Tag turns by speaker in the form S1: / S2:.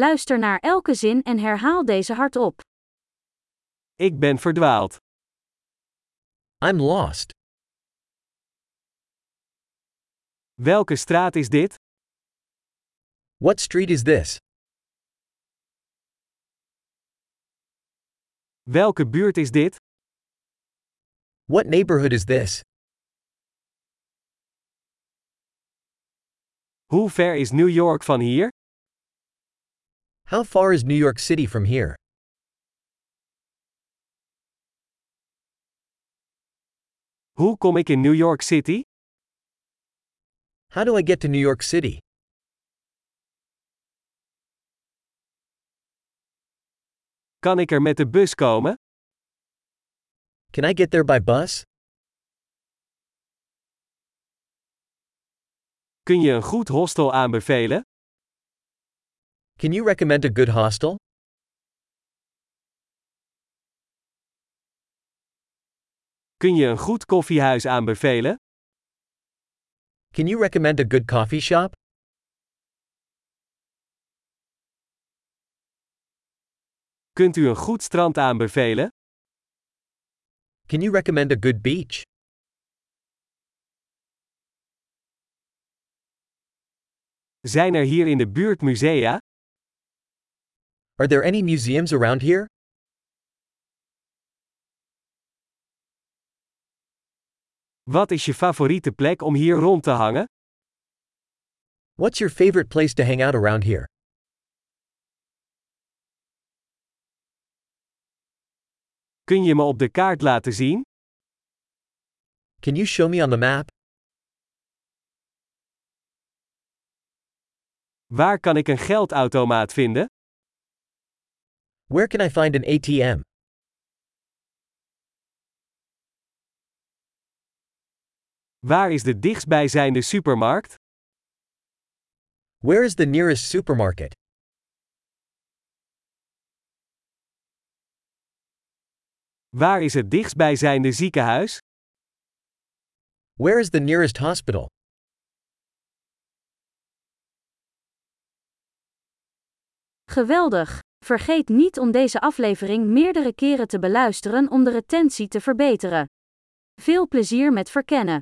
S1: Luister naar elke zin en herhaal deze hardop.
S2: Ik ben verdwaald.
S3: I'm lost.
S2: Welke straat is dit?
S3: What street is this?
S2: Welke buurt is dit?
S3: What neighborhood is this?
S2: Hoe ver is New York van hier?
S3: How far is New York City from here?
S2: Hoe kom ik in New York City?
S3: How do I get to New York City?
S2: Kan ik er met de bus komen?
S3: Can I get there by bus?
S2: Kun je een goed hostel aanbevelen?
S3: Can you recommend a good hostel?
S2: Kun je een goed koffiehuis aanbevelen?
S3: Can you recommend a good coffee shop?
S2: Kunt u een goed strand aanbevelen?
S3: Can you recommend a good beach?
S2: Zijn er hier in de buurt musea?
S3: Are there any museums around here?
S2: Wat is je favoriete plek om hier rond te hangen?
S3: What's your favorite place to hang out around here?
S2: Kun je me op de kaart laten zien?
S3: Can you show me on the map?
S2: Waar kan ik een geldautomaat vinden?
S3: Where can I find an ATM?
S2: Waar is de dichtstbijzijnde supermarkt?
S3: Where is the nearest supermarket?
S2: Waar is het dichtstbijzijnde ziekenhuis?
S3: Where is the nearest hospital?
S1: Geweldig! Vergeet niet om deze aflevering meerdere keren te beluisteren om de retentie te verbeteren. Veel plezier met verkennen.